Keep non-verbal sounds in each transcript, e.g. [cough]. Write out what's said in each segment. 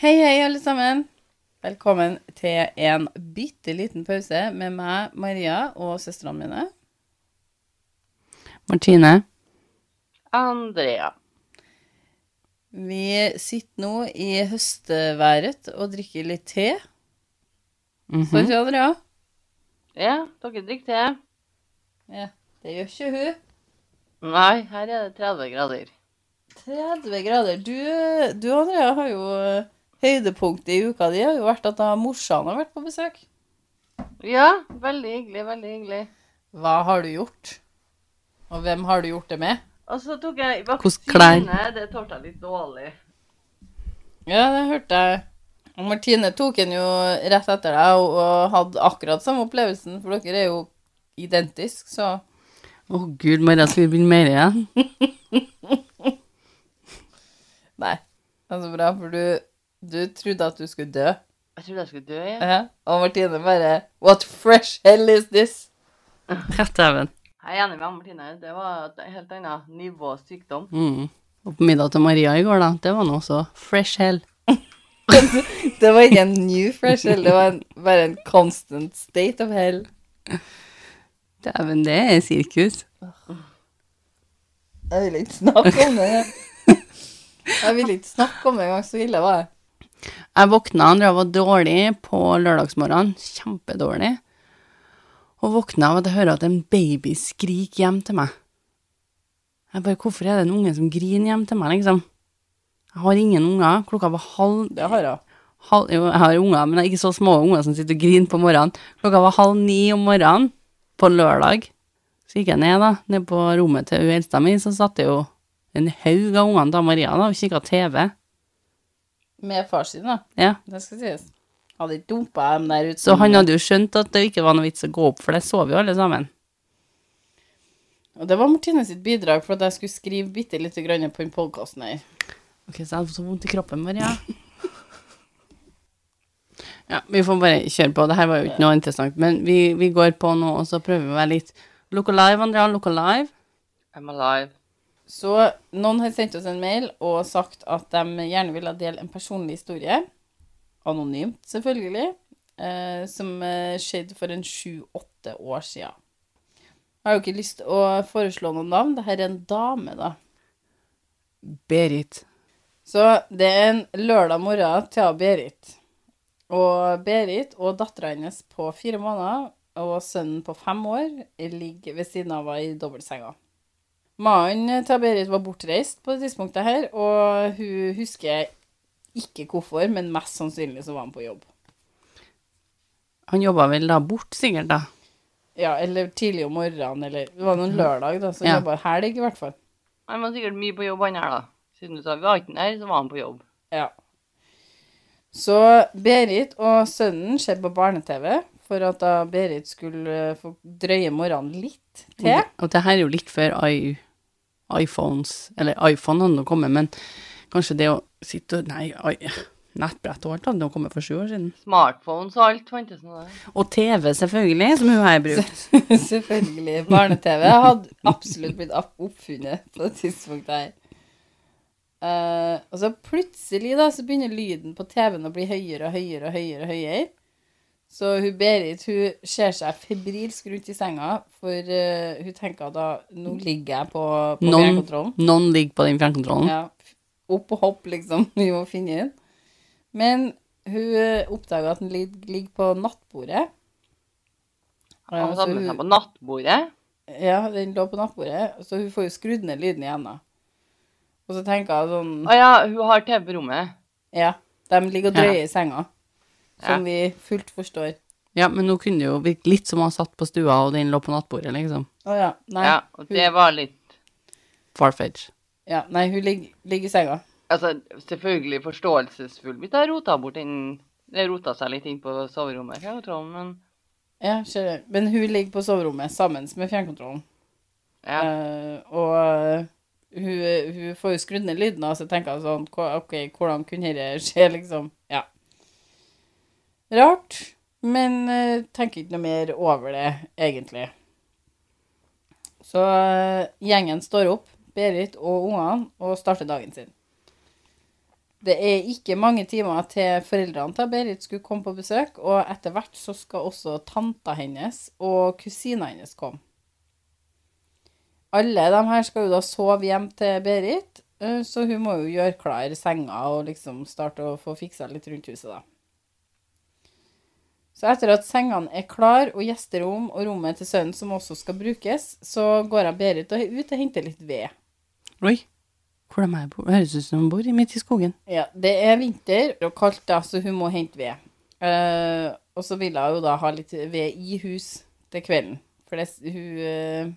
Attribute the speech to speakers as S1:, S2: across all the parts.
S1: Hei, hei, alle sammen. Velkommen til en bitte liten pause med meg, Maria, og søstrene mine. Martine.
S2: Andrea.
S1: Vi sitter nå i høstværet og drikker litt te. Står ikke Andrea?
S2: Ja, dere drikker te?
S1: Ja. Det gjør ikke hun.
S2: Nei, her er det 30 grader.
S1: 30 grader. Du, du Andrea, har jo eh, høydepunktet i uka di har jo vært at da morsan har vært på besøk.
S2: Ja, veldig hyggelig, veldig hyggelig.
S1: Hva har du gjort? Og hvem har du gjort det med?
S2: Og så tok jeg
S1: Hvordan klær?
S2: vaksine. Det tålte jeg litt dårlig.
S1: Ja, det hørte jeg. Og Martine tok en jo rett etter deg og- og hadde akkurat samme opplevelsen, for dere er jo identiske, så
S3: Å gud, Maria, skal vi begynne mer igjen?
S1: [laughs] Nei. Det er så bra, for du, du trodde at du skulle dø.
S2: Jeg trodde jeg skulle dø. jeg.
S3: Eh.
S1: Ja. Og Martine bare What fresh hell is this?
S3: Kattehaugen.
S2: Jeg er enig med Martine. Det var et helt annet nivå av sykdom.
S3: Mm. Og på middag til Maria i går, da, det var nå også fresh hell.
S1: [laughs] Det var ikke en new fresh hell, det var en, bare en constant state of hell.
S3: Dæven, det er sirkus.
S1: Jeg vil ikke snakke om det. Jeg vil ikke snakke om det engang, så ille var jeg.
S3: Jeg våkna, Andrea var dårlig på lørdagsmorgenen, kjempedårlig. Og våkna av at jeg hører at en baby skriker hjem til meg. Jeg bare, hvorfor er det en unge som griner hjem til meg, liksom? Jeg har ingen unger, klokka var halv
S1: Det har jeg.
S3: halv, jo, jeg har unger, men det er ikke så små unger som sitter og griner på morgenen. Klokka var halv ni om morgenen på lørdag. Så gikk jeg ned, da, ned på rommet til hun eldste mi, så satt det jo en haug av ungene til Maria da, og kikka TV.
S1: Med far sin, da.
S3: Ja.
S1: Det skal sies. Hadde ikke dumpa dem der ute.
S3: Så han hadde jo skjønt at det ikke var noe vits å gå opp, for det sov jo alle sammen.
S1: Og det var Martine sitt bidrag for at jeg skulle skrive bitte lite grann på den podkasten her.
S3: Ok, så jeg hadde så vondt i kroppen, Maria. [laughs] Ja, vi får bare kjøre på. Det her var jo ikke noe interessant, men vi, vi går på nå, og så prøver vi å være litt Look alive, Andrea. Look alive.
S2: I'm alive.
S1: Så noen har sendt oss en mail og sagt at de gjerne ville dele en personlig historie, anonymt selvfølgelig, eh, som eh, skjedde for en sju-åtte år siden. Jeg har jo ikke lyst til å foreslå noen navn. Dette er en dame, da.
S3: Berit.
S1: Så det er en lørdag morgen til Berit. Og Berit og dattera hennes på fire måneder og sønnen på fem år ligger ved siden av henne i dobbeltsenga. Mannen til Berit var bortreist på det tidspunktet her, og hun husker ikke hvorfor, men mest sannsynlig så var han på jobb.
S3: Han jobba vel da bort, sikkert, da.
S1: Ja, eller tidlig om morgenen, eller Det var noen lørdag, da, så
S3: Ja.
S1: ja. jobba helg, i hvert fall.
S2: Han var sikkert mye på jobb, han her, da. Siden du sa vi var ikke den her, så var han på jobb.
S1: Ja. Så Berit og sønnen ser på barne-TV for at da Berit skulle eh, få drøye morgenen litt
S2: Mm.
S1: til.
S3: Og, og det her er jo litt før i, iPhones Eller iPhone hadde nå kommet, men kanskje det å sitte og Nei, i, nettbrett og alt hadde nå kommet for sju år siden.
S2: Smartphones og alt sånn. fantes nå der.
S3: Og TV, selvfølgelig, som hun her bruker.
S1: [laughs] Selvfølgelig. Barne-TV hadde absolutt blitt opp- oppfunnet på det tidspunktet her. Eh, og så plutselig da, så begynner lyden på TV-en å bli høyere og høyere og høyere. og høyere. Så hun Berit hun ser seg febrilsk rundt i senga, for eh, hun tenker at da, nå ligger jeg på, på
S3: Noen, Mm.
S1: fjernkontrollen.
S3: [laughs] noen ligger på den fjernkontrollen.
S1: Ja, opp og hopp, liksom. [laughs] Vi må finne den. Men hun eh, oppdaga at den lig- ligger på nattbordet. Eh,
S2: Han
S1: så
S2: satte
S1: hun-
S2: seg på nattbordet.
S1: ja, den lå på nattbordet, så hun får jo skrudd ned lyden igjen, da. Og så tenker jeg sånn
S2: Å ja, hun har TV på rommet.
S1: Ja, de ligger og drøyer i senga, som
S2: Ja.
S1: vi fullt forstår.
S3: Ja, men nå kunne det jo virke litt som han satt på stua, og den lå på nattbordet, liksom.
S1: Å ja. Nei,
S2: Ja, og
S1: hun,
S2: det var litt
S3: Farfetch.
S1: ja, nei, hun ligger, ligger i senga.
S2: Altså, selvfølgelig forståelsesfull. Vi tar rota bort inn Det rota seg litt inn på soverommet, kan jeg tro, men
S1: Ja, skjønner. Men hun ligger på soverommet sammen med fjernkontrollen.
S2: ja.
S1: Eh, og eh, hun, hun får jo skrudd ned lyden, og så tenker jeg sånn hva- OK, hvordan kunne dette skje, liksom? Ja. Rart, men eh, tenker ikke noe mer over det, egentlig. Så eh, gjengen står opp, Berit og ungene, og starter dagen sin. Det er ikke mange timer til foreldrene til Berit skulle komme på besøk, og etter hvert så skal også tanta hennes og kusina hennes komme. Alle de her skal jo da sove hjem til Berit, eh, så hun må jo gjøre klar senga og liksom starte å få fiksa litt rundt huset, da. Så etter at sengene er klar og gjesterom og rommet til sønnen som også skal brukes, så går jeg Berit og ut og henter litt ved.
S3: Oi. Hvor de er bo? Høres ut som de bor i- midt i skogen.
S1: Ja, det er vinter og kaldt, da, så hun må hente ved. Eh, og så vil hun jo da ha litt ved i hus til kvelden. For det, hun, eh,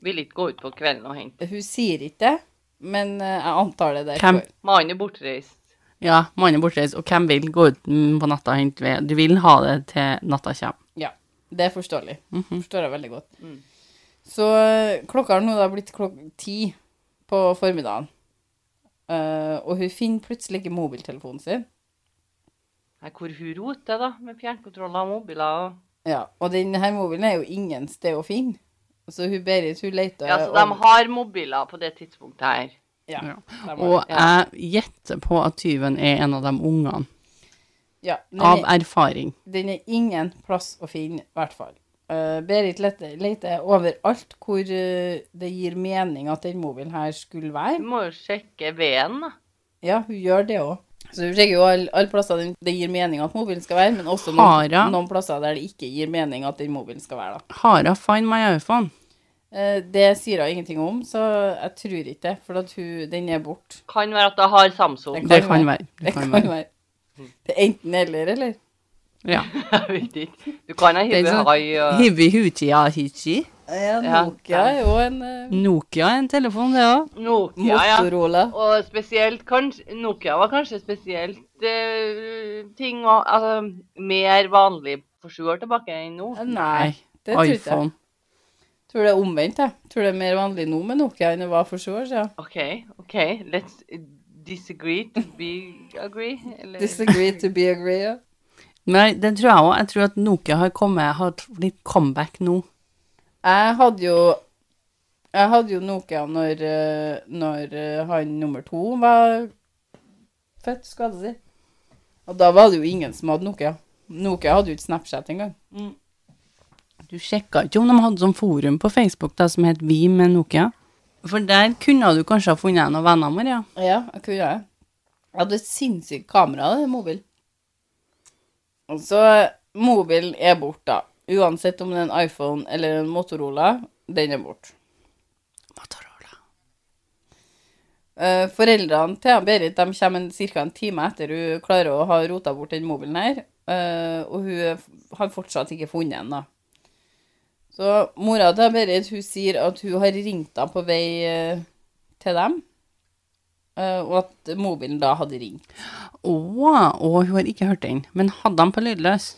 S2: Vil ikke gå ut på kvelden og hente.
S1: hun sier ikke det, men eh, jeg antar det derfor.
S3: Hvem?
S2: Mannen er bortreist.
S3: Ja, mannen er bortreist, og hvem vil gå ut mm, på natta og hente ved? Du vil ha det til natta kommer.
S1: Ja, det er forståelig. Forstår jeg veldig godt.
S2: Mm.
S1: Så eh, klokka har nå da blitt klokka ti på formiddagen. Eh, og hun finner plutselig ikke mobiltelefonen sin.
S2: Nei, hvor hun roter, da, med fjernkontroller og mobiler og
S1: Ja, og denne her mobilen er jo ingen sted å finne. Så hun Berit, hun leter
S2: Ja, så
S1: over-
S2: de har mobiler på det tidspunktet her.
S1: Ja.
S3: Ja.
S1: de har
S3: Og
S1: det.
S3: jeg gjetter på at tyven er en av de ungene.
S1: ja, den,
S3: Av
S1: er,
S3: erfaring.
S1: den er ingen plass å finne, i hvert fall. Eh, Berit leter, leter overalt hvor eh, det gir mening at den mobilen her skulle
S2: Du
S1: være.
S2: må jo sjekke veden, da.
S1: Ja, hun gjør det òg. Så hun sjekker jo alle all plasser den, det gir mening at mobilen skal være, men også noen,
S3: Hara.
S1: noen plasser der det ikke gir mening at den mobilen skal være. da.
S3: Hara find my iPhone.
S1: Eh, det sier hun ingenting om, så jeg tror ikke det, for at hun, den er borte.
S2: Kan være at jeg har Samsung.
S3: [laughs]
S1: Det
S3: Det
S1: kan være.
S3: kan være.
S1: Det kan være. Det er enten-eller, eller?
S3: Ja.
S2: Jeg vet ikke. Du kan ha
S3: Det er
S2: hive
S3: sånn-
S2: hai og
S3: Hibi Hutia Hichi.
S1: Ja,
S2: Ja.
S1: Nokia er jo en eh,
S3: Nokia er en telefon, det òg.
S2: Nokia, ja.
S1: Motorola.
S2: Og spesielt kanskje, Nokia var kanskje spesielt eh, ting å- altså, mer vanlig for sju år tilbake enn nå.
S1: Eh, Nei, det tror ikke jeg.
S3: iPhone.
S1: Tror det er omvendt, jeg. Tror det er mer vanlig nå med Nokia enn det var for sju år siden.
S2: OK, OK, let's disagree to be agree. Eller,
S1: Disagree to be agree, ja.
S3: Nei, det tror jeg òg. Jeg tror at Nokia har kommet har litt comeback nå.
S1: Jeg hadde jo jeg hadde jo Nokia når, eh, når eh, han nummer to var født, skal jeg si. Og da var det jo ingen som hadde Nokia. Nokia hadde jo ikke Snapchat engang.
S3: Du sjekka ikke om de hadde sånn forum på Facebook da, som het Vi med Nokia? For der kunne du kanskje ha funnet noen venner, Maria.
S1: Ja, jeg kunne det. Jeg hadde et sinnssykt kamera, det, mobil. Og så mobilen er bort, da. Uansett om det er en iPhone eller en Motorola, den er bort.
S3: Motorola.
S1: Eh, foreldrene til Berit de kommer ca. en time etter hun klarer å ha rota bort den mobilen her. eh, og hun er f- har fortsatt ikke funnet den, da. Så mora til Berit hun sier at hun har ringt henne på vei eh, til dem, eh, og at mobilen da hadde ringt.
S3: Å, og hun har ikke hørt den. Men hadde han på lydløs?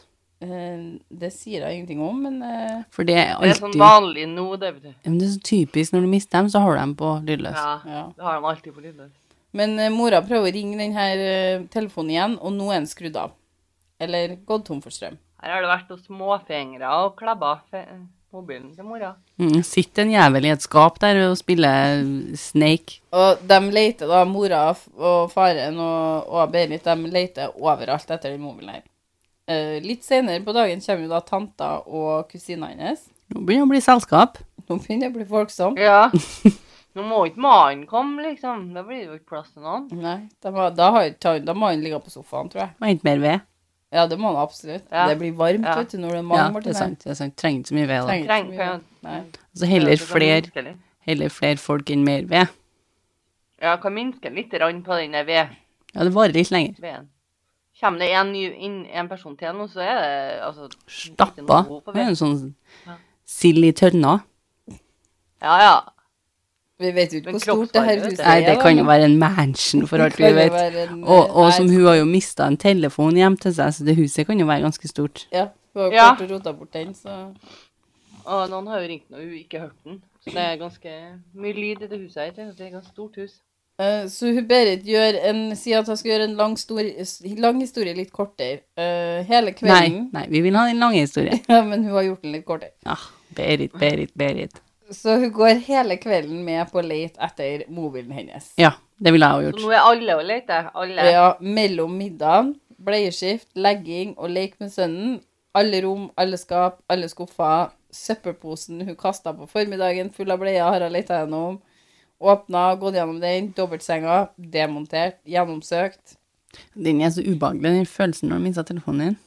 S1: Eh, det sier jeg ingenting om, men eh,
S3: For det er
S2: det er sånn
S3: alltid
S2: vanlig nå, det vet du.
S3: Ja, men Det er så typisk når du mister dem, så har du dem på lydløs.
S2: Ja,
S1: ja.
S2: det har han alltid på lydløs.
S1: Men eh, mora prøver å ringe denne telefonen igjen, og nå er den skrudd av. Eller gått tom for strøm.
S2: Her har det vært og småfingre og klabba fe- mobilen til mora.
S3: Mm, sitter en jævel i et skap der og spiller Snake.
S1: Og de leter da, mora f- og faren og, og Berit, de leter overalt etter den mobilen her. Eh, litt senere på dagen kommer jo da tanta og kusina hennes.
S3: Nå begynner det å bli selskap.
S1: Nå begynner det å bli folksom.
S2: Ja. Nå må ikke mannen komme, liksom. Da blir det jo ikke plass til noen.
S1: Nei, de har, da, har, ta- da må han ligge på sofaen, tror jeg.
S3: Må hente mer ved.
S1: Ja, det må han absolutt.
S2: Ja.
S1: Det blir varmt,
S2: Ja.
S1: vet du, når det er mange
S3: Ja,
S1: Martin,
S3: det er
S1: her.
S3: sant. det er sant. Trenger ikke så mye ved. da.
S1: Trenger ikke så mye.
S2: Trenger-
S1: Nei.
S3: Altså heller
S2: Det kan
S3: flere
S2: minske litt.
S3: heller fler folk enn mer ved.
S2: Ja, kan minske litt rann på den der ved-
S3: Ja, det varer litt lenger.
S2: veden. Kommer det en, ny, inn, en person til nå, så er det altså ikke
S3: Stappa.
S2: noe god på
S3: Det er
S2: veden.
S3: en sånn
S2: Ja.
S3: sild i tønna.
S2: Ja, ja.
S1: Vi vet jo ikke
S2: Men
S1: hvor stort det her
S2: kroppsvarme, vet
S1: huset
S2: du.
S1: er.
S3: Nei, det
S1: da,
S3: kan jo
S1: men
S3: være en mansion, for
S1: det
S3: alt vi
S1: kan jo
S3: vet.
S1: være en,
S3: Og,
S1: eh,
S3: og som
S1: nei,
S3: hun har jo mista en telefon hjem til seg, så det huset kan jo være ganske stort.
S1: Ja, hun har
S2: Ja.
S1: klart å rote bort den, så
S2: Og noen har jo ringt når hun ikke hørte den. Så det er ganske mye lyd i det huset her. tenk at Det er et ganske stort hus.
S1: Eh, Så hun Berit gjør en, sier at hun skal gjøre en lang, stor, s- lang historie litt kortere. Eh, hele
S3: Nei,
S1: kvelden.
S3: nei, vi vil ha en lang historie.
S1: Ja, men hun har gjort den litt kortere.
S3: Ah, Berit, Berit, Berit.
S1: Så hun går hele kvelden med på leit etter mobilen hennes.
S3: Ja, Det ville jeg jo
S2: Så
S3: gjort.
S2: nå er alle og leter. Alle.
S1: Ja, mellom middagen, bleieskift, legging og lek med sønnen. Alle rom, alle skap, alle skuffer. Søppelposen hun kasta på formiddagen, full av bleier, har hun leita gjennom. Åpna, gått gjennom den. Dobbeltsenga, demontert, gjennomsøkt.
S3: Den er så ubehagelig, den følelsen når du mister telefonen din.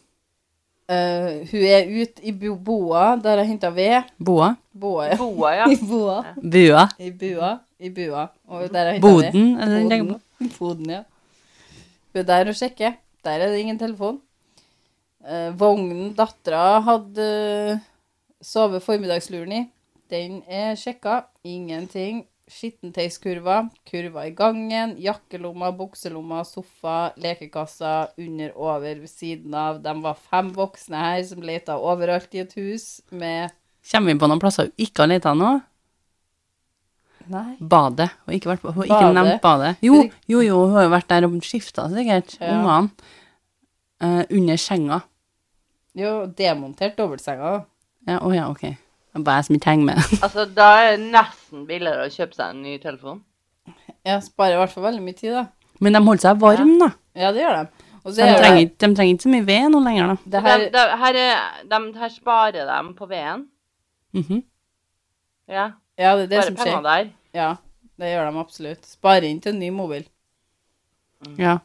S1: Eh, hun er ute i bu- boa, der hun henta ved.
S3: Boa.
S1: Boa, ja.
S2: Boa,
S1: [laughs]
S2: ja.
S1: I boa.
S3: Bua.
S1: I bua. I bua. Og der har jeg hentet
S3: Boden.
S1: det.
S3: Eller den legger på.
S1: Boden. Boden, ja. Hun er der og sjekker. Der er det ingen telefon. Eh, vognen dattera hadde eh, sovet formiddagsluren i, den er sjekka. Ingenting. Skittentøyskurva, kurva i gangen, jakkelomma, bukselomma, sofa, lekekassa, under, over, ved siden av. De var fem voksne her som leta overalt i et hus med
S3: Kommer vi på noen plasser hun ikke har leita nå?
S1: Nei.
S3: Badet. Hun har ikke, vært på, hun har ikke
S1: Badet.
S3: nevnt badet. Jo, jo, jo, hun har jo vært der og skifta sikkert.
S1: Ja.
S3: Ungene. Eh, under senga.
S1: Jo, demontert dobbeltsenga, da.
S3: Ja, Å ja, ok. Det er bare jeg som ikke henger med. [laughs]
S2: Altså, da er det nesten billigere å kjøpe seg en ny telefon.
S1: Jeg sparer i hvert fall veldig mye tid, da.
S3: Men de holder seg varme, da.
S1: Ja, det gjør de. Og så
S3: De
S1: er
S3: trenger,
S1: det,
S3: ikke- de trenger ikke så mye ved nå lenger, da.
S1: det
S2: De,
S1: her,
S2: de, her, er, de, her sparer de på veden.
S3: Mhm.
S2: Ja,
S1: ja, det er det
S2: bare
S1: som
S2: penger
S1: skjer.
S2: der.
S1: Ja, det gjør de absolutt. Sparer inn til en ny mobil.
S3: Ja.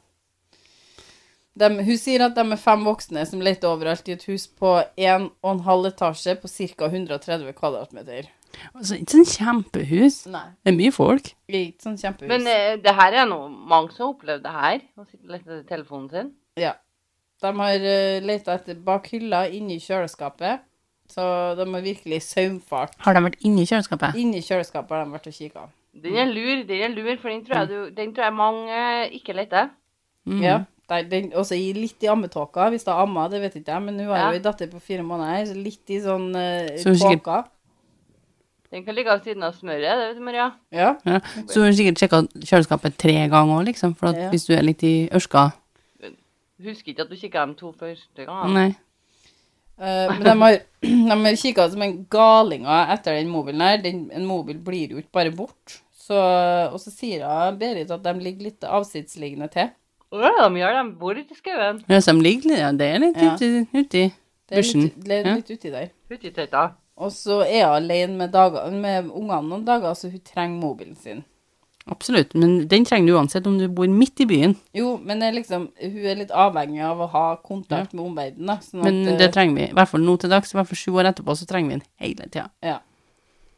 S1: De, hun sier at de er fem voksne som leter overalt i et hus på 1,5 etasje på ca. 130 kvadratmeter.
S3: Altså, ikke sånn kjempehus.
S1: Nei.
S3: Det er mye folk.
S1: Det er ikke sånn kjempehus.
S2: Men eh, det her er noe mange som har opplevd det her. Å sitte og lette etter telefonen sin.
S1: Ja. De har uh, leita etter bak hylla, inni kjøleskapet. Så de har virkelig saumfart.
S3: Har de vært inne i kjøleskapet?
S1: Inni kjøleskapet har de vært og kikka.
S2: Den er lur, den er lur, for den tror jeg, du, den tror jeg mange eh, ikke leter.
S3: Mm.
S1: Ja. Der, den, også i litt i ammetåka, hvis det er amma, det vet ikke jeg, men hun har
S2: Ja.
S1: jo en datter på fire måneder, så litt i sånn eh,
S3: Så hun sikkert-
S1: tåka.
S2: Den kan ligge ved siden av smøret, det vet du, Maria.
S1: Ja.
S3: Ja. Så hun har sikkert sjekka kjøleskapet tre ganger òg, liksom. For at
S1: Ja.
S3: hvis du er litt i ørska
S2: Husker ikke at du kikket de to første gangene.
S3: Nei.
S1: Eh, men de har, [clears throat] de har kikka som en galinger etter den mobilen her. Den, en mobil blir jo ikke bare bort. Så, og så sier hun, Berit at de ligger litt avsidesliggende til.
S2: Hva er det de gjør? De bor ute i skauen.
S3: Ja, så de ligger litt ja, Det er litt
S1: Ja.
S3: uti, uti
S1: Det er
S3: bushen.
S1: litt, det er
S3: Ja.
S1: litt uti der.
S2: Ute i tøyta.
S1: Og så er hun alene med, dager, med ungene noen dager, så hun trenger mobilen sin.
S3: Absolutt. Men den trenger du uansett om du bor midt i byen.
S1: Jo, men det er liksom, hun er litt avhengig av å ha kontakt med omverdenen. da, Sånn
S3: Men
S1: at, eh,
S3: det trenger vi. I hvert fall nå til dags. I hvert fall sju år etterpå så trenger vi den hele tida.
S1: Ja.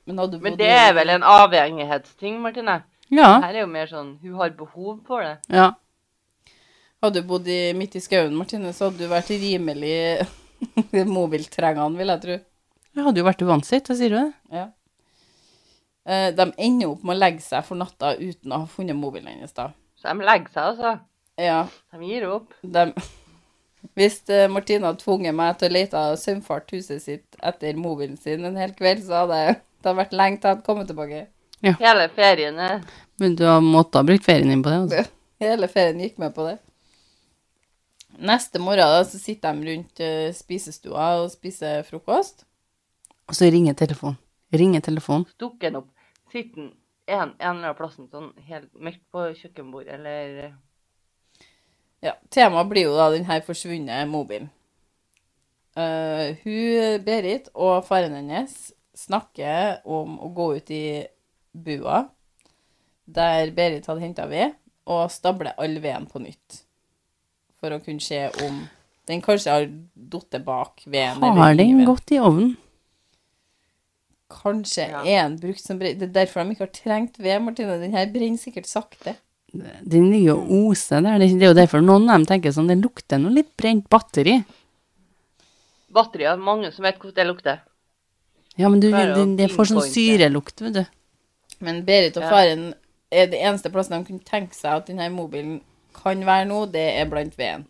S1: Men, hadde du
S2: Men
S1: bodd
S2: det
S1: i-
S2: er vel en avhengighetsting, Martine.
S3: Ja.
S2: Her er jo mer sånn, hun har behov for det.
S3: ja.
S1: Hadde du bodd i, midt i skauen, Martine, så hadde du vært rimelig [laughs] mobiltrengende, vil jeg tro.
S3: Det hadde jo vært uansett, da sier du det.
S1: Ja. Eh, De ender jo opp med å legge seg for natta uten å ha funnet mobilen hennes, da.
S2: Så de legger seg, altså.
S1: Ja,
S2: De gir opp.
S1: de... [laughs] Hvis eh, Martine hadde tvunget meg til å lete søvnfart huset sitt etter mobilen sin en hel kveld, så hadde jeg- det hadde vært lenge til jeg hadde kommet tilbake.
S2: Hele ferien er
S3: Men du har måttet ha brukt ferien din på det. Altså.
S1: Hele ferien gikk med på det. Neste morgen da, så sitter de rundt eh, spisestua og spiser frokost.
S3: Og så ringer telefonen. Ringer telefonen.
S2: stukket opp. Sitter en, en eller annen plassen sånn helt mørkt på kjøkkenbordet, eller eh,
S1: Ja, Temaet blir jo da den her forsvunne mobilen. Eh, hun, Berit og faren hennes snakker om å gå ut i bua, der Berit hadde henta ved, og stable all veden på nytt. For å kunne se om den kanskje har falt bak veden. eller
S3: Har
S1: i
S3: den
S1: veden.
S3: gått i ovnen?
S1: Kanskje
S2: Ja.
S1: er den brukt som brenn... Det er derfor de ikke har trengt ved, Martine. Den her brenner sikkert sakte.
S3: Den ligger jo og oser der. Det det er jo derfor noen av dem tenker sånn, det lukter noe litt brent batteri.
S2: Batterier. Mange som vet hvordan det lukter.
S3: Ja, men du,
S2: Det er jo
S3: det, det får sånn
S2: pinpoint, det.
S3: syrelukt, vet du.
S1: Men Berit og
S2: Ja.
S1: faren er det eneste plassen de kunne tenke seg at denne mobilen kan være nå, det er blant veden.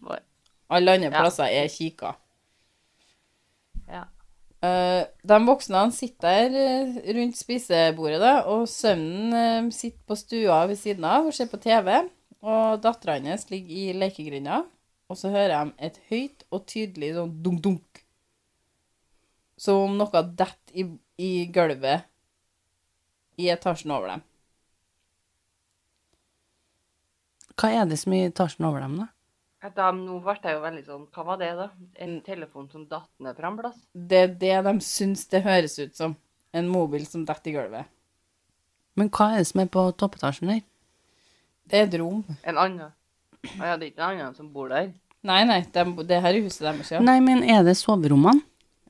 S1: Alle andre
S2: Ja.
S1: plasser er kika.
S2: Ja.
S1: Eh, de voksne han sitter der eh, rundt spisebordet, da, og sønnen eh, sitter på stua ved siden av og ser på TV. Og dattera hans ligger i lekegrinda, og så hører de et høyt og tydelig sånn dunk-dunk. Som om noe detter i, i gulvet i etasjen over dem.
S3: Hva er det som er i etasjen over dem, da?
S2: At Da, nå ble jeg jo veldig sånn Hva var det, da? En
S1: Mm.
S2: telefon som datt ned fra en plass?
S1: Det er det de syns det høres ut som. En mobil som detter i gulvet.
S3: Men hva er det som er på toppetasjen der?
S1: Det er et rom.
S2: En annen? Å ja, det er ikke en annen som bor der?
S1: Nei, nei, de, det her er huset deres, ja.
S3: Nei, men er det soverommene?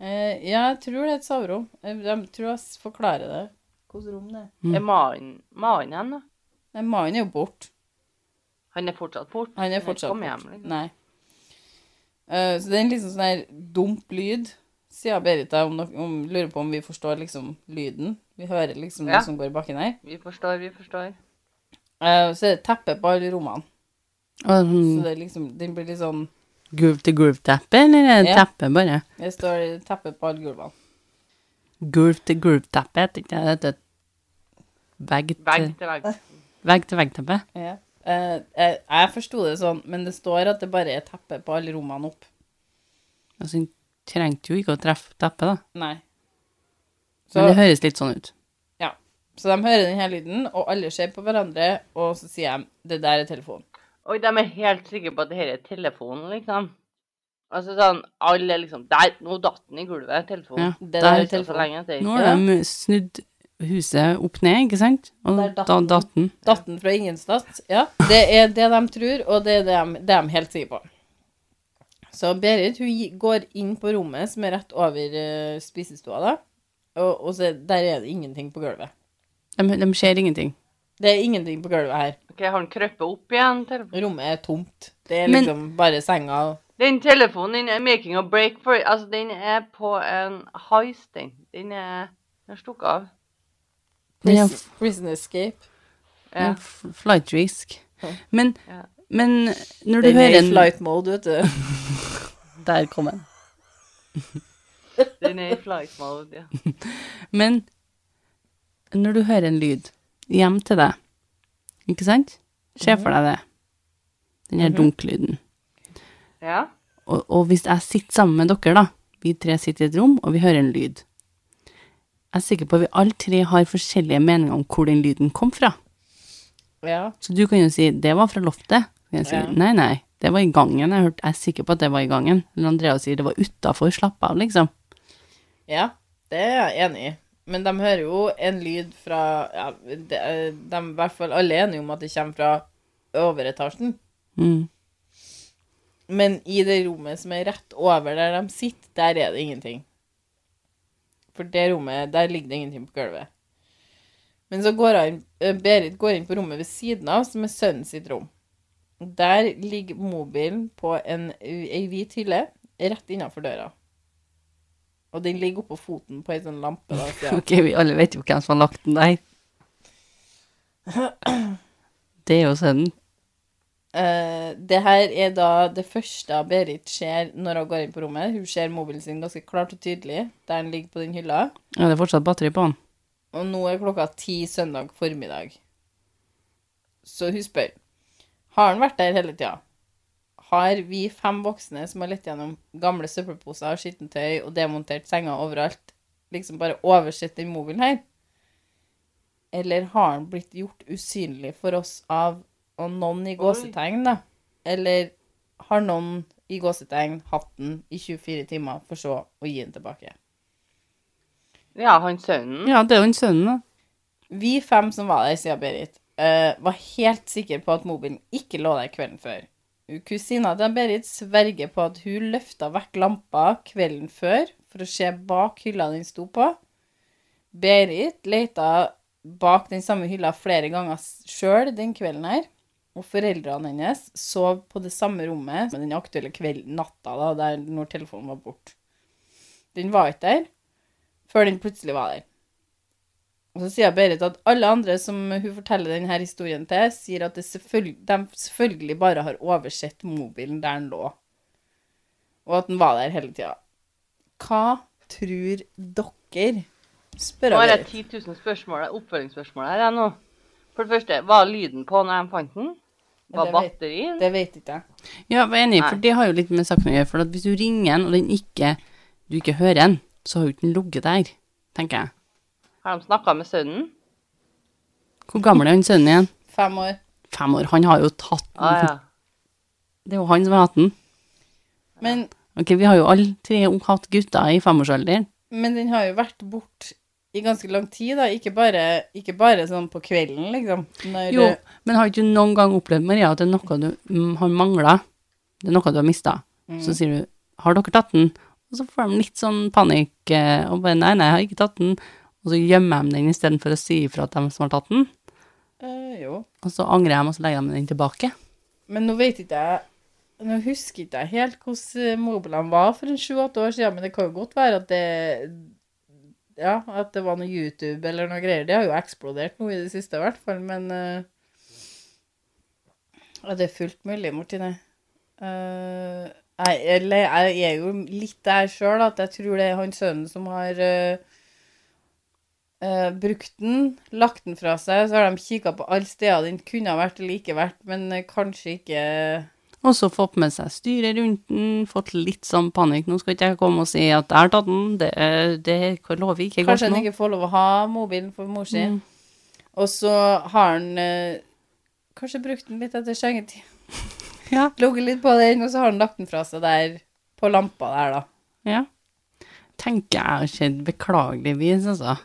S1: Eh, ja, jeg tror det er et soverom. Eh, De tror jeg s- forklarer det. Hvilket rom det er.
S2: Er mannen mannen hen, da?
S1: Nei, mannen er jo borte.
S2: Han er fortsatt borte?
S1: Han er fortsatt
S2: borte. Hjem,
S1: borte.
S2: liksom.
S1: Nei. Eh, så det er en liksom sånn her dump lyd, sier Berit da, om, nok- om, lurer på om vi forstår liksom lyden. Vi hører liksom
S2: Ja.
S1: noe som går i bakken her.
S2: Vi forstår, vi forstår.
S1: Eh, så er det teppe på alle rommene. Så
S3: Og sånn
S1: det er liksom, den blir litt sånn,
S3: groove to groove-teppe, eller er det
S1: Ja.
S3: teppe bare?
S1: det står teppe på alle gulvene.
S3: Groove to groove-teppe, heter ikke det det? heter? Vegg
S2: Vegg
S3: til-
S2: til vegg.
S3: vegg til vegg-teppe?
S1: Ja. Eh, jeg, jeg forstod det sånn, men det står at det bare er teppe på alle rommene opp.
S3: Altså, hun trengte jo ikke å treffe teppet, da.
S1: Nei.
S3: Men
S1: Så,
S3: det høres litt sånn ut.
S1: ja. så de hører denne lyden, og alle ser på hverandre, og så sier de, det der er telefonen.
S2: Oi, de er helt sikre på at dette er telefonen, liksom. Altså sånn, alle er liksom Der, nå datt den i gulvet,
S3: Ja.
S2: telefonen.
S1: Det
S3: Der-
S1: der
S2: Det
S1: er
S2: er så
S1: telefonen.
S2: lenge etter.
S3: Nå har de snudd huset opp ned, ikke sant? Og
S1: Der datt
S3: da
S1: den.
S3: datt den.
S1: Datten fra Ingenstad. Ja, det er det de tror, og det er det de, det er de helt sikre på. Så Berit hun gi- går inn på rommet som er rett over eh, spisestua, da. Og, og så, der er det ingenting på gulvet.
S3: De, de ser ingenting.
S1: Det er ingenting på gulvet her.
S2: Ok, har den krøpet opp igjen? Telefon.
S1: Rommet er tomt. Det er
S3: Men-
S1: liksom bare senga. og-
S2: Den telefonen den er making a break for Altså, den er på en heist, den. Den er Den er stukket av.
S3: Den er
S1: Prison, prison escape.
S2: Ja.
S3: f- Flight risk.
S1: Ja.
S3: Men,
S2: Ja.
S3: men når du
S1: Den er
S3: hører
S1: i
S3: en
S1: flight mode, vet du. [laughs]
S3: Der kom den.
S2: Den er i flight mode, ja.
S3: Men når du hører en lyd hjem til deg, ikke sant? Se for deg det. Den her dunklyden.
S2: ja.
S3: Og, og hvis jeg sitter sammen med dere, da, vi tre sitter i et rom, og vi hører en lyd Jeg er sikker på at vi alle tre har forskjellige meninger om hvor den lyden kom fra.
S1: Ja.
S3: Så du kan jo si 'det var fra loftet'. Så kan jeg si
S1: Ja.
S3: 'nei, nei, det var i gangen'. Jeg, hørte, jeg er sikker på at det var i gangen. Eller Andrea sier 'det var utafor', slapp av, liksom.
S1: ja, det er jeg enig i. Men de hører jo en lyd fra ja, de, de er i hvert fall alle er enige om at det kommer fra overetasjen.
S3: Mm.
S1: Men i det rommet som er rett over der de sitter, der er det ingenting. For det rommet, der ligger det ingenting på gulvet. Men så går han, eh, Berit går inn på rommet ved siden av, som er sønnen sitt rom. Der ligger mobilen på en, ei hvit hylle rett innafor døra. Og den ligger oppå foten på ei sånn lampe. Da, så
S3: [laughs]
S1: ja.
S3: Ok, vi alle vet jo hvem som har lagt den der. Det er jo sønnen.
S1: Eh, det her er da det første Berit ser når hun går inn på rommet. Hun ser mobilen sin ganske klart og tydelig der den ligger på den hylla.
S3: Ja, det er fortsatt batteri på han.
S1: Og nå er klokka ti søndag formiddag. Så hun spør Har han vært der hele tida? Har vi fem voksne som har lett gjennom gamle søppelposer, skittentøy og demontert senger overalt, liksom bare oversett den mobilen her? Eller har han blitt gjort usynlig for oss av og noen i gåsetegn, da? Eller har noen i gåsetegn hatt den i 24 timer, for så å gi den tilbake?
S2: Ja, han sønnen.
S3: Ja, det er jo den sønnen, da.
S1: Vi fem som var der, sier Berit, eh, var helt sikre på at mobilen ikke lå der kvelden før. Kusina til Berit sverger på at hun løfta vekk lampa kvelden før for å se bak hylla den sto på. Berit leita bak den samme hylla flere ganger sjøl den kvelden her. Og foreldrene hennes sov på det samme rommet med den aktuelle kvelden, natta da, der når telefonen var borte. Den var ikke der før den plutselig var der. Og så sier Berit at alle andre som hun forteller denne historien til, sier at det selvfølgelig, de selvfølgelig bare har oversett mobilen der den lå, og at den var der hele tida. Hva tror dere? Spør
S2: Nå
S1: jeg
S2: har jeg
S1: Berit.
S2: 10 000 spørsmål, oppfølgingsspørsmål her jeg nå. For det første, var lyden på når de fant den? Var
S1: Det vet-
S2: batterien?
S1: Det vet ikke jeg.
S3: Ja, jeg er enig, for
S2: Nei.
S3: det har jo litt med saken å gjøre. For at hvis du ringer en, og den ikke, du ikke hører en, så har jo ikke den ligget der, tenker jeg.
S1: [laughs]
S2: Har de snakka med sønnen?
S3: Hvor gammel er han sønnen igjen?
S1: Fem år.
S3: Fem år. Han har jo tatt den.
S2: Ah, ja.
S3: Det er jo han som har hatt den.
S1: Men,
S3: Ok, vi har jo alle tre hatt gutter i femårsalderen.
S1: men den har jo vært bort i ganske lang tid, da. Ikke bare, ikke bare sånn på kvelden, liksom. Når,
S3: Jo, men har ikke du noen gang opplevd, Maria, at det er noe du mm, har mangla? Det er noe du har mista?
S1: Mm.
S3: Så sier du 'Har dere tatt den?' Og så får de litt sånn panikk eh, og bare 'Nei, nei, jeg har ikke tatt den'. Og så gjemmer de den istedenfor å si ifra til dem som har tatt den.
S1: Eh, jo.
S3: Og så angrer de, og så legger de den tilbake.
S1: Men nå vet ikke jeg Nå husker ikke jeg helt hvordan mobilene var for en sju-åtte år siden, men det kan jo godt være at det Ja, at det var noe YouTube eller noe greier. Det har jo eksplodert nå i det siste, i hvert fall, men eh, Ja, det er fullt mulig, Martine. Eh, jeg, eller jeg er jo litt der sjøl at jeg tror det er han sønnen som har eh, eh, brukt den, lagt den fra seg, så har de kikka på alle steder den kunne ha vært eller ikke vært, men eh, kanskje ikke
S3: Og så fått med seg styret rundt den, fått litt sånn panikk. 'Nå skal ikke jeg komme og si at jeg har tatt den', det, er- det kan- lover ikke jeg
S1: Kanskje
S3: godt
S1: han
S3: nå.
S1: ikke får lov å ha mobilen for mor si.
S3: Mm.
S1: Og så har han eh, kanskje brukt den litt etter sengetid.
S3: [laughs] Ja.
S1: Ligget litt på den, og så har han lagt den fra seg der, på lampa der, da.
S3: Ja. Tenker jeg har skjedd beklageligvis, altså.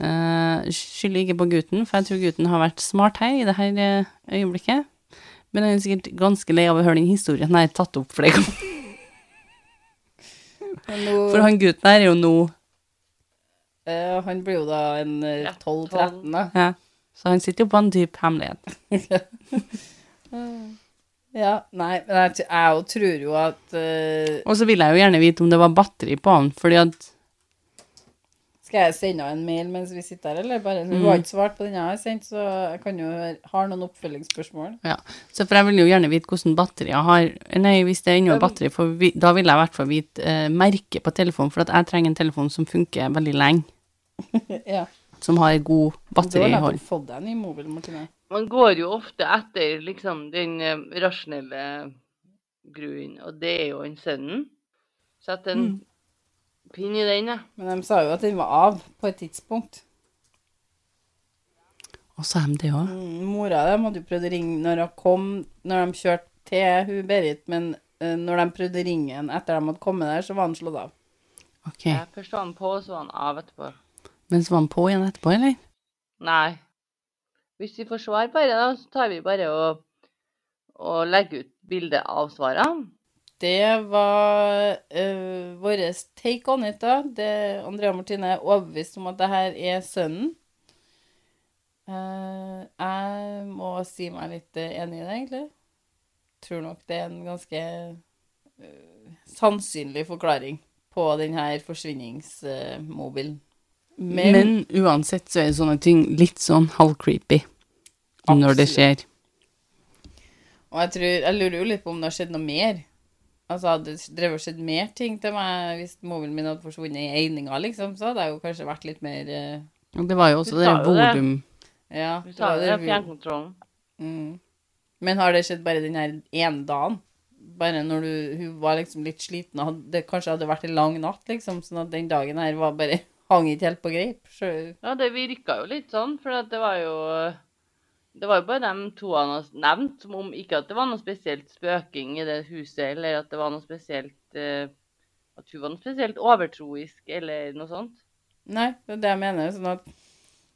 S3: Eh, skylder ikke på gutten, for jeg tror gutten har vært smart her i det her eh, øyeblikket. Men han er sikkert ganske lei av å høre den historien her tatt opp flere ganger.
S1: Men nå,
S3: For han gutten her er jo nå
S1: eh, han blir jo da en eh,
S2: Ja,
S1: 12-13, da.
S3: ja. Så han sitter jo på en dyp hemmelighet.
S1: Ja, nei, men jeg, t- jeg jo tror jo at eh,
S3: Og så vil jeg jo gjerne vite om det var batteri på han, fordi at
S1: Skal jeg sende henne en mail mens vi sitter her, eller bare Hun har ikke svart på den jeg har sendt, så jeg kan jo høre Har noen oppfølgingsspørsmål?
S3: Ja, så for jeg vil jo gjerne vite hvordan batterier har Nei, hvis det ennå er batteri, for vi, da vil jeg i hvert fall vite eh, merket på telefonen, for at jeg trenger en telefon som funker veldig lenge,
S1: Ja.
S3: som har god
S1: Du har
S3: batterihold.
S1: nettopp fått deg en ny mobil, Martine.
S2: Man går jo ofte etter liksom den eh, rasjonelle grunnen, og det er jo den sønnen. Sett en
S1: Mm.
S2: pinn i den, jeg.
S1: Men de sa jo at den var av på et tidspunkt.
S3: Og så er de det òg.
S1: Mm, Mora dem hadde jo prøvd å ringe når hun kom, når de kjørte til hun Berit, men eh, når de prøvde å ringe henne etter de hadde kommet der, så var han slått av. Mm.
S3: Ok.
S2: jeg. Først var han på, så var han av etterpå.
S3: Men så var han på igjen etterpå, eller?
S2: Nei. Hvis vi får svar bare, da, så tar vi bare og, og legger ut bilde av svarene.
S1: Det var uh, vår take on it, da. Det, Andrea og Martine er overbevist om at det her er sønnen. Eh, jeg må si meg litt eh, enig i det, egentlig. Tror nok det er en ganske eh, sannsynlig forklaring på denne forsvinningsmobilen.
S3: Men, uansett så er det sånne ting litt sånn halvcreepy når det skjer.
S1: Og jeg, tror, jeg lurer jo litt på om det har skjedd noe mer. Altså, hadde det drevet og skjedd mer ting til meg hvis mobilen min hadde forsvunnet i eininga, liksom, så hadde jeg jo kanskje vært litt mer eh,
S3: Og det var jo
S2: Du
S3: også det der
S2: sa jo det.
S3: volum
S1: Ja.
S2: Vi
S1: da
S2: tar det
S1: hadde
S2: av
S1: vi-
S2: fjernkontrollen.
S1: mm. Men har det skjedd bare den her ene dagen? Bare når du, hun var liksom litt sliten og hadde, det kanskje hadde vært en lang natt, liksom, sånn at den dagen her var bare hang ikke helt på greip. Så,
S2: Ja, det virka jo litt sånn, for at det var jo Det var jo bare de to han har nevnt, som om ikke at det var noe spesielt spøking i det huset, eller at det var noe spesielt eh, At hun var noe spesielt overtroisk, eller noe sånt.
S1: nei, det er det jeg mener. Sånn at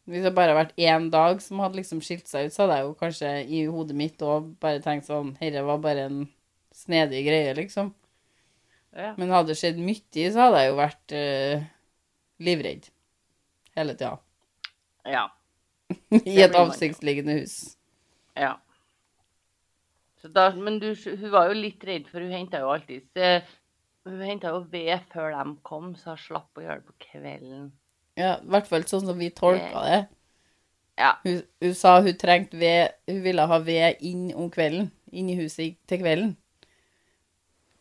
S1: hvis det bare hadde vært én dag som hadde liksom skilt seg ut, så hadde jeg jo kanskje i hodet mitt òg bare tenkt sånn Herre var bare en snedig greie, liksom.
S2: Ja.
S1: Men hadde det skjedd mye, så hadde jeg jo vært eh, livredd. Hele tida.
S2: ja.
S1: [laughs] I et
S2: blir man jo.
S1: avsiktsliggende hus.
S2: ja. Så da, men du, hun var jo litt redd, for hun henta jo alltid eh, Hun henta jo ved før de kom, så hun slapp å gjøre det på kvelden. Eh,
S1: Ja, i hvert fall sånn som vi tolka det.
S2: Ja.
S1: Hun, hun sa hun trengte ved Hun ville ha ved inn om kvelden. Inn i huset i- til kvelden.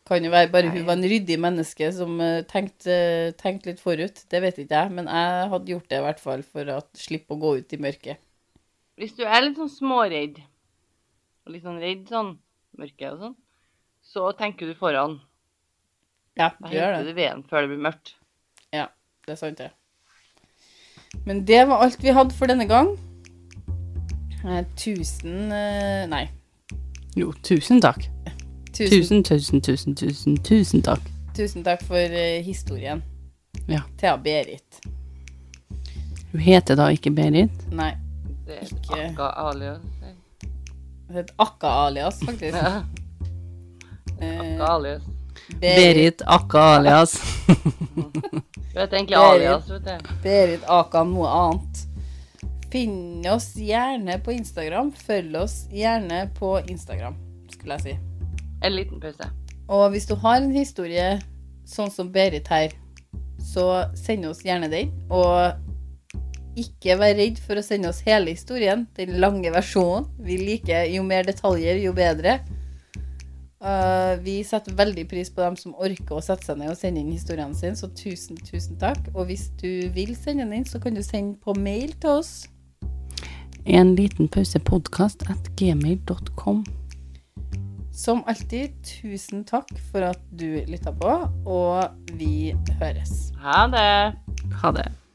S1: Kan jo være bare hun var en ryddig menneske som eh, tenkte, tenkte litt forut. Det vet ikke jeg, men jeg hadde gjort det i hvert fall for å slippe å gå ut i mørket.
S2: Hvis du er litt sånn småredd, og litt sånn redd sånn, mørke og sånn, så tenker du foran.
S1: Ja,
S2: Da
S1: du gjør
S2: henter
S1: det.
S2: du veden før det blir mørkt.
S1: Ja, det er sant, det. Men det var alt vi hadde for denne gang. Eh, Tusen eh, Nei.
S3: Jo, tusen takk.
S1: Tusen,
S3: Tusen, tusen, tusen, tusen, tusen takk.
S1: tusen takk for eh, historien.
S3: Ja.
S1: Thea Berit.
S3: Hun heter da ikke Berit.
S1: Nei.
S2: Det er
S1: Ikke-
S2: akka alias.
S1: [laughs] Det er et akka-alias, faktisk.
S2: Ja,
S1: Eh,
S2: akka alias.
S3: Berit Akka alias.
S2: Du vet
S1: Berit.
S2: egentlig alias, vet du.
S1: Berit Aka noe annet. Finn oss gjerne på Instagram. Følg oss gjerne på Instagram, skulle jeg si.
S2: En liten pause.
S1: Og hvis du har en historie sånn som Berit her, så send oss gjerne den. Og ikke vær redd for å sende oss hele historien, den lange versjonen. Vi liker jo mer detaljer, jo bedre. Eh, vi setter veldig pris på dem som orker å sette seg ned og sende inn historiene sine, så tusen, tusen takk. Og hvis du vil sende den inn, så kan du sende på mail til oss.
S3: [laughs] En liten pause podcast at gmail.com.
S1: Som alltid, tusen takk for at du lytta på, og vi høres.
S2: Ha det.
S3: Ha det.